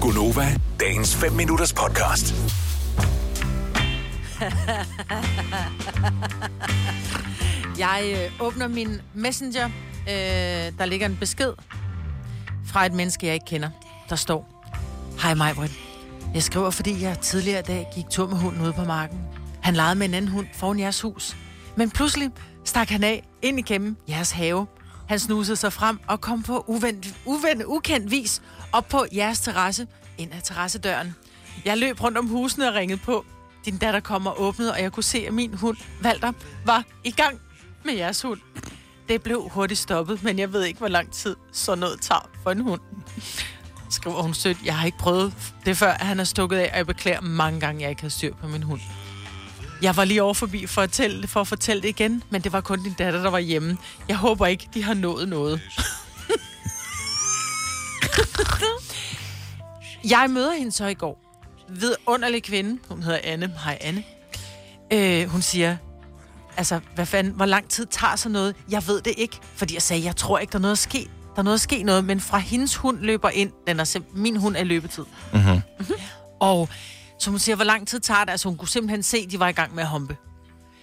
Gunova, dagens 5 minutters podcast. Jeg øh, åbner min messenger. Øh, der ligger en besked fra et menneske, jeg ikke kender. Der står, Hej Majbrit. Jeg skriver, fordi jeg tidligere i dag gik tur med hunden ude på marken. Han legede med en anden hund foran jeres hus. Men pludselig stak han af ind i kæmmen jeres have. Han snusede sig frem og kom på uvendt, uvendt, ukendt vis op på jeres terrasse, ind ad terrassedøren. Jeg løb rundt om husene og ringede på. Din datter kom og åbnede, og jeg kunne se, at min hund, Valter, var i gang med jeres hund. Det blev hurtigt stoppet, men jeg ved ikke, hvor lang tid sådan noget tager for en hund skriver hun sødt, jeg har ikke prøvet det før, at han er stukket af, og jeg beklager mange gange, jeg ikke havde styr på min hund. Jeg var lige over forbi for at, tælle, for at fortælle det igen, men det var kun din datter, der var hjemme. Jeg håber ikke, de har nået noget. jeg møder hende så i går. Vidunderlig kvinde. Hun hedder Anne. Hej Anne. Øh, hun siger, altså, hvad fanden, hvor lang tid tager sådan noget? Jeg ved det ikke, fordi jeg sagde, jeg tror ikke, der er noget at ske. Der er noget at ske noget, men fra hendes hund løber ind, den er simp- min hund er i løbetid. Mm-hmm. Mhm. Og så hun siger, hvor lang tid tager det? Altså, hun kunne simpelthen se, de var i gang med at humpe.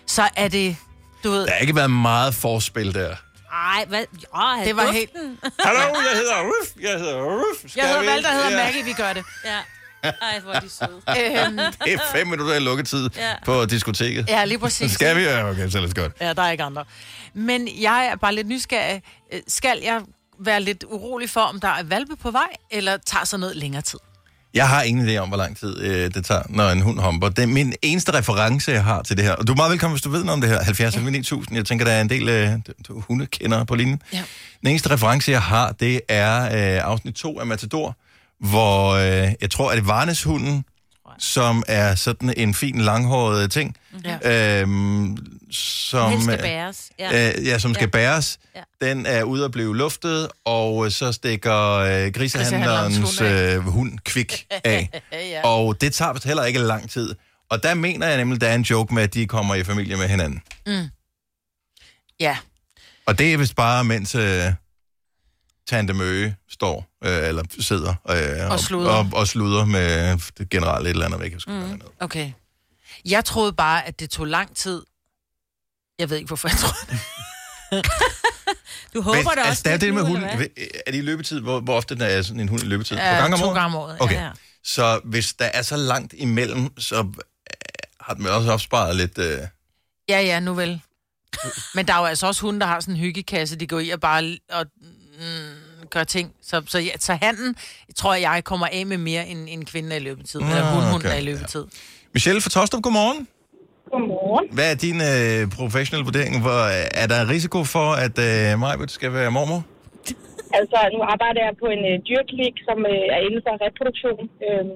Så er det, du ved, Der har ikke været meget forspil der. Ej, hvad? Åh, det var helt... Hallo, jeg hedder Ruf, jeg hedder Ruf. Skal Jeg hedder vi- Valter, jeg hedder Ja. Maggie, vi gør det. Ja. Ej, hvor er de søde. Øhm, Det er fem minutter i lukketid Ja. på diskoteket. ja, lige præcis. Skal vi? Ja, okay, så let's godt. Ja, der er ikke andre. Men jeg er bare lidt nysgerrig. Øh, Skal jeg være lidt urolig for, om der er valpe på vej, eller tager sådan noget længere tid? Jeg har ingen idé om, hvor lang tid øh, det tager, når en hund humper. Det er min eneste reference, jeg har til det her. Og du er meget velkommen, hvis du ved noget om det her. 70 ja. 9000. Jeg tænker, der er en del øh, hundekendere på linjen. Ja. Den eneste reference, jeg har, det er øh, afsnit 2 af Matador, hvor øh, jeg tror, at det er Varneshunden, som er sådan en fin, langhåret ting, ja. øhm, som, Han skal øh, bæres. Ja. øh, ja, som skal Ja. bæres. Ja. Den er ude at blive luftet, og øh, så stikker øh, grisehandlerens Grisehandlerens hund øh, hund kvik af. Ja. Og det tager vist heller ikke lang tid. Og der mener jeg nemlig, der er en joke med, at de kommer i familie med hinanden. Mm. Ja. Og det er vist bare, mens øh, Tante Møge står, øh, eller sidder øh, og, sluder. Og, og sluder med det generelle et eller andet, jeg ikke mm. Okay. Jeg troede bare, at det tog lang tid. Jeg ved ikke, hvorfor jeg troede det. Du håber da også... altså, der er det lidt med nu, hunden. eller hvad? Er det i løbetid? Hvor, hvor ofte er sådan en hund i løbetid? Ja, Ja, På gang om to året? gange om året. Okay. Ja. Så hvis der er så langt imellem, så øh, har den vel også opsparet lidt... Øh, Ja, ja, nu vel. Men der er jo altså også hunde, der har sådan en hyggekasse, de går i og bare l- og, mm, gør ting. Så, så, ja, så handen, tror jeg, kommer af med mere end, end kvinden er i løbetid. Mm, eller hun, hun okay, er i ja. løbetid. Michelle fra Tostrup, godmorgen. Godmorgen. Hvad er din øh, professionelle vurdering? Hvor, øh, er der en risiko for, at øh, Majbert skal være mormor? Altså, nu arbejder jeg på en øh, dyrklik, som øh, er inden for reproduktion. Øhm,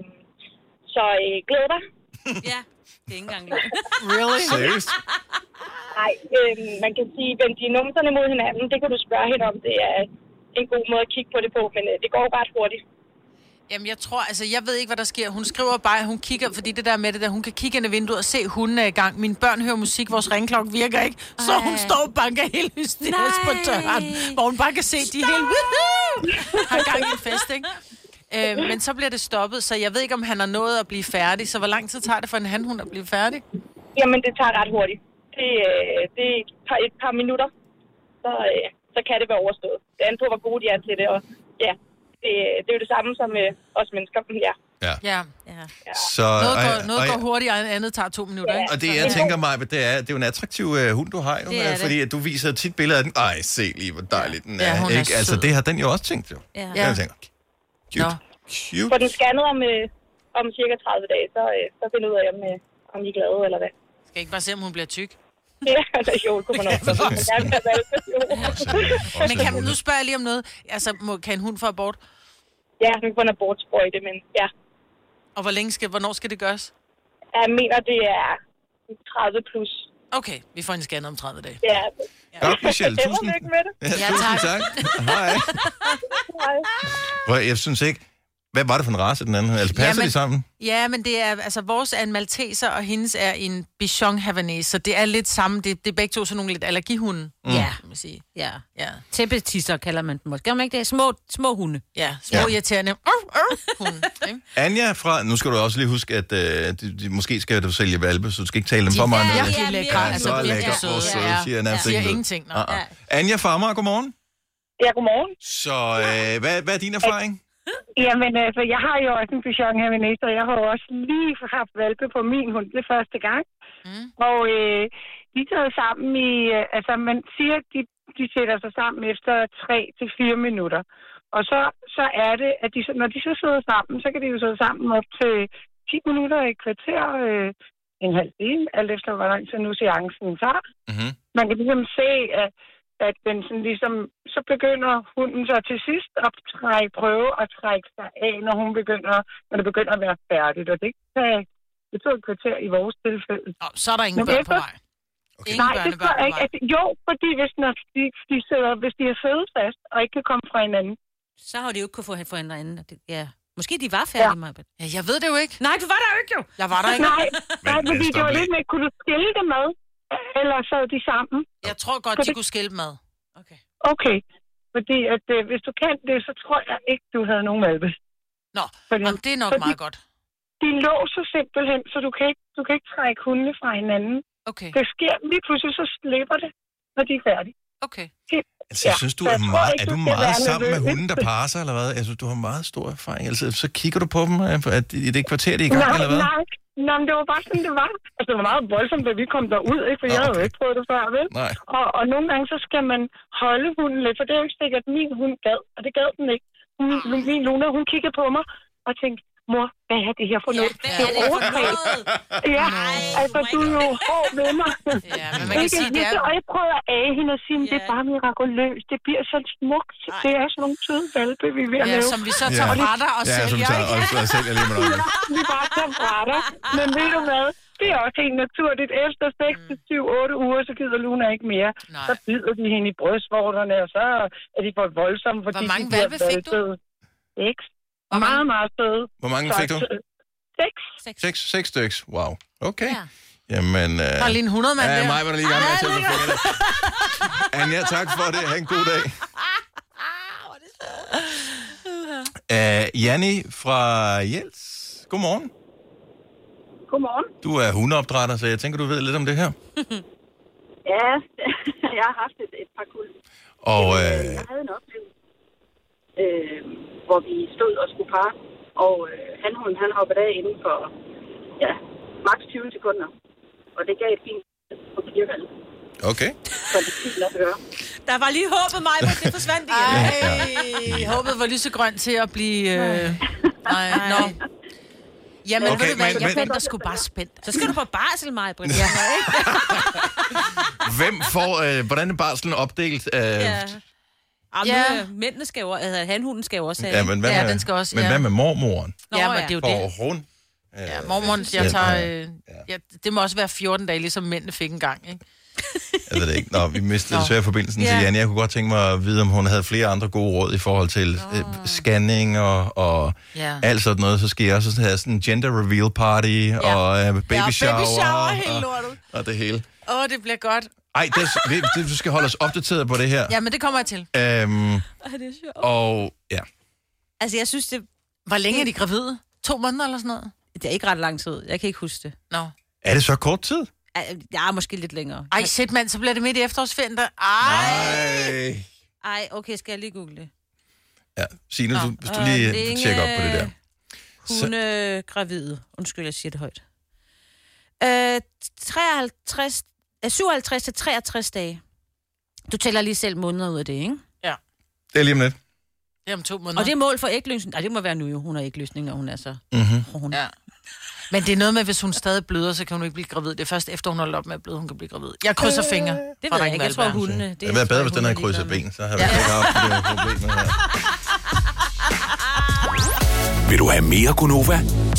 så øh, glæder dig. ja. Det er ikke engang løgn. Really? Seriøst? Nej, øhm, man kan sige, vend de numserne mod hinanden. Det kan du spørge hende om. Det er en god måde at kigge på det på, men øh, det går ret hurtigt. Jamen, jeg tror, altså, jeg ved ikke, hvad der sker. Hun skriver bare, at hun kigger, fordi det der med det der, hun kan kigge ind i vinduet og se, at hunden er i gang. Mine børn hører musik, vores ringklokke virker ikke. Så Ej. hun står og banker helt hysterisk på Nej. døren, hvor hun bare kan se, at de er helt woohoo, har gang i en fest, ikke? Øh, men så bliver det stoppet, så jeg ved ikke, om han har nået at blive færdig. Så hvor lang tid tager det for en hanhund at blive færdig? Jamen, det tager ret hurtigt. Det, øh, det er et par, et par minutter, så, øh, så kan det være overstået. Det andet på, hvor gode de er til det, og ja, det, det er jo det samme som øh, os mennesker. Ja. Ja. Ja. Ja. Så, Noget, og- går, noget og- går hurtigt, og andet tager to minutter, ikke? Og det, jeg tænker mig, det er, det er jo en attraktiv øh, hund, du har, jo, Det er øh, det. fordi at du viser tit billeder af den. Ej, se lige, hvor dejlig den er. Ja, hun er ikke? Altså, sød. det har den jo også tænkt, jo. Ja. Den har tænkt, cute, Nå. Få cute. Altså, den scannet om, øh, om cirka 30 dage, så, øh, så finder ud af, om, øh, om I er glade eller hvad. Skal ikke bare se, om hun bliver tyk? Ja, der er jo, kunne man også. godt. Men jeg vil have valgt det, jo. Også en- også Men en kan, hund. nu spørger jeg lige om noget. Altså, må, kan en hund få abort? Ja, nu kan man abortsprøjte, men ja. Og hvor længe skal, hvornår skal det gøres? Jeg mener, det er 30 plus. Okay, vi får en scanner om 30 dage. Ja, Godt, Michelle. Held og Tusind, lykke med det. ja, tusind tak. Hej. Hej. Prøv, jeg synes ikke... Hvad var det for en race, den anden? Altså, passer Jamen- Jamen... de sammen? Ja, men det er, altså vores er en malteser, og hendes er en bichon havanese, så det er lidt samme, det, det er begge to sådan nogle lidt allergihunde, Mm. Ja, kan man sige. ja. Ja, Tæppetisser kalder man dem måske. Gør man ikke det? Små, små hunde. ja små Ja. ja. irriterende uh, uh, hunde, ikke? Anja fra... Nu skal du også lige huske, at øh, de, de, måske skal du sælge valpe, så du skal ikke tale dem for meget. Ja, ned. ja, de er mere lækre, end altså, så virkelig lækker søde. og søde, Ja. siger nærmest Siger ikke noget. ingenting, nå. Ah, ah. Anja fra Amager, godmorgen. Ja, godmorgen. Så øh, hvad, hvad er din erfaring? Jamen, altså, jeg har jo også en Bichon Hermanese, og jeg har jo også lige haft valpe på min hund det første gang. Mm. Mm. Og øh, de tager sammen i... Øh, altså, man siger, at de, de sætter sig sammen efter 3 til fire minutter. Og så, så er det, at de, så- når de så sidder sammen, så kan de jo sidde sammen op til 10 minutter, et kvarter, øh, en halv time, alt efter, hvor lang tid nu seancen tager. Mm-hmm. man kan ligesom se, at, at den sådan ligesom, så begynder hunden så til sidst at trække, prøve at trække sig af, når hun begynder, når det begynder at være færdigt. Og det kan det tog et kvarter i vores tilfælde. Nå, så er der ingen Nå, børn men på vej. Okay. Ingen Nej, det tror børnebørn jeg på ikke. vej. At, jo, fordi hvis, når de, de sidder, hvis de har siddet fast og ikke kan komme fra hinanden. Så har de jo ikke kunnet få forændret anden. og det- Ja. Måske de var færdige, ja. mig. Ja, jeg ved det jo ikke. Nej, du var der jo ikke, jo. Jeg var der ikke. Nej, nej Men, fordi øh, det var stop lidt med, kunne du skille det med? Eller sad de sammen? Jeg tror godt, de kunne skille mad. Okay. Okay. Fordi at, øh, hvis du kan det, så tror jeg ikke, du havde nogen valpe. Nå, Fordi- Jamen, det er nok fordi- meget godt. de låser simpelthen, så du kan ikke, du kan ikke trække hundene fra hinanden. Okay, Det sker lige pludselig, så slipper det, når de er færdige. okay. Altså, jeg Ja, synes, du så er jeg tror meget, ikke, er du du skal meget være sammen med nervøs. hunden, der parer sig, eller hvad? Altså, du har meget stor erfaring. Altså, så kigger du på dem, øh, at i det kvarter, de er i gang, nej, eller hvad? nej, nej, men det var bare sådan, det var. Altså, det var meget voldsomt, da vi kom derud, ikke? for Nå, jeg havde jo okay. ikke prøvet det før, vel? Nej. Og, og nogle gange, så skal man holde hunden lidt, for det er jo ikke sikkert, at min hund gad, og det gad den ikke. Hun, Ah. min Luna, hun kiggede på mig og tænkte, mor, hvad er det her for noget? hvad det er det for overgreb. noget? Ja, Nej, altså, my du er jo hård ved mig. Ja, men man kan Ikke? sige, det er... Jeg kan- Og jeg prøver at age hende og sige, at det Ja. er bare mirakuløst. Det bliver så smukt. Det er sådan nogle søde valpe, vi er ved at Ja, lave. som vi så tager Ja. fra dig og Ja, som sælger, tager ikke? og, og sælger lige med dig. Vi er bare så fra dig. Men ved du hvad? Det er også helt naturligt. Efter 6 til 7, 8 uger, så gider Luna ikke mere. Nej. Så bider de hende i brystvorterne, og så er de for voldsomme, fordi Hvor mange de bliver hvalpe fik du? valpede. Seks. Hvor mange? Meget, meget søde. Hvor mange fik du? Seks. Seks, seks styks. Wow. Okay. Ja. Jamen, øh, Der er lige en 100 mand ja, der. mig var der lige i gang med at tælle på fingrene. Anja, tak for det. Ha' en god dag. Uh, Janni fra Jels. Godmorgen. Godmorgen. Du er hundeopdrætter, så jeg tænker, du ved lidt om det her. Ja, jeg har haft et, et par kul. Og Øh, øh, Jeg havde en oplevelse, øh, hvor vi stod og skulle parre, og øh, hanhunden han hoppede af inden for ja, maks 20 sekunder. Og det gav et fint på kirkevalget, okay. så det er fint at høre. Der var lige håbet, mig, men det forsvandt igen. Ej, håbet var lysegrøn til at blive... Øh... Nej, nå. Jamen, Okay, okay, ved du hvad, men- jeg men- venter sgu bare spændt. Så skal du på barsel, mig, Britt. Ja. Hvem får, øh, hvordan er barslen opdelt? Øh, ja. Ja. øh, Mændene skal jo, altså hanhunden skal jo også have. ja, men hvad med, Ja, den skal også, men ja. hvad med mormoren? Nå, ja, men det er jo det. Får hun? Øh, Ja, mormor, Ja, jeg tager... ja. Øh... Ja, det må også være 14 dage, ligesom mændene fik en gang, ikke? Jeg ved det ikke. Nå, vi mistede Nå. desværre forbindelsen til Ja. Janne. Jeg kunne godt tænke mig at vide, om hun havde flere andre gode råd i forhold til øh, scanning og, og Ja. alt sådan noget. Så skal jeg også have sådan en gender reveal party og øh, baby, Ja, shower, baby shower, helt og, lortet. og det hele. Åh, oh, det bliver godt. Ej, det, er- vi- det, du skal holde os opdateret på det her. Ja, men det kommer jeg til. Øhm, Ej, det er sjovt. og ja, Altså, jeg synes, det, Hvor længe er de gravide? Mm. To måneder eller sådan noget? det er ikke ret lang tid. Jeg kan ikke huske det. Nå. er det så kort tid? Ej, Jeg er måske lidt længere. Ej, shit mand, så bliver det midt i efterårsferien der. Ej. Ej. Ej, okay, skal jeg lige google det? Ja, Signe, du, hvis du og lige længe- tjekker op på det der. Hun er øh, gravid. Undskyld, jeg siger det højt. Øh, 53, øh, 57 til 63 dage. Du tæller lige selv måneder ud af det, ikke? Det er lige om lidt. Det er om to måneder. Og det er mål for ægløsning. Nej, det må være nu jo. Hun har ægløsning, når hun er så... Mhm. Mm-hmm. Ja. Men det er noget med, hvis hun stadig bløder, så kan hun ikke blive gravid. Det er først efter, hun holder op med at bløde, hun kan blive gravid. Jeg krydser fingre. Det ved jeg ikke. Jeg tror, hundene... Det havde været bedre, hvis den havde krydset ben, så havde vi ikke haft det her problem med her. Vil du have mere Gunova?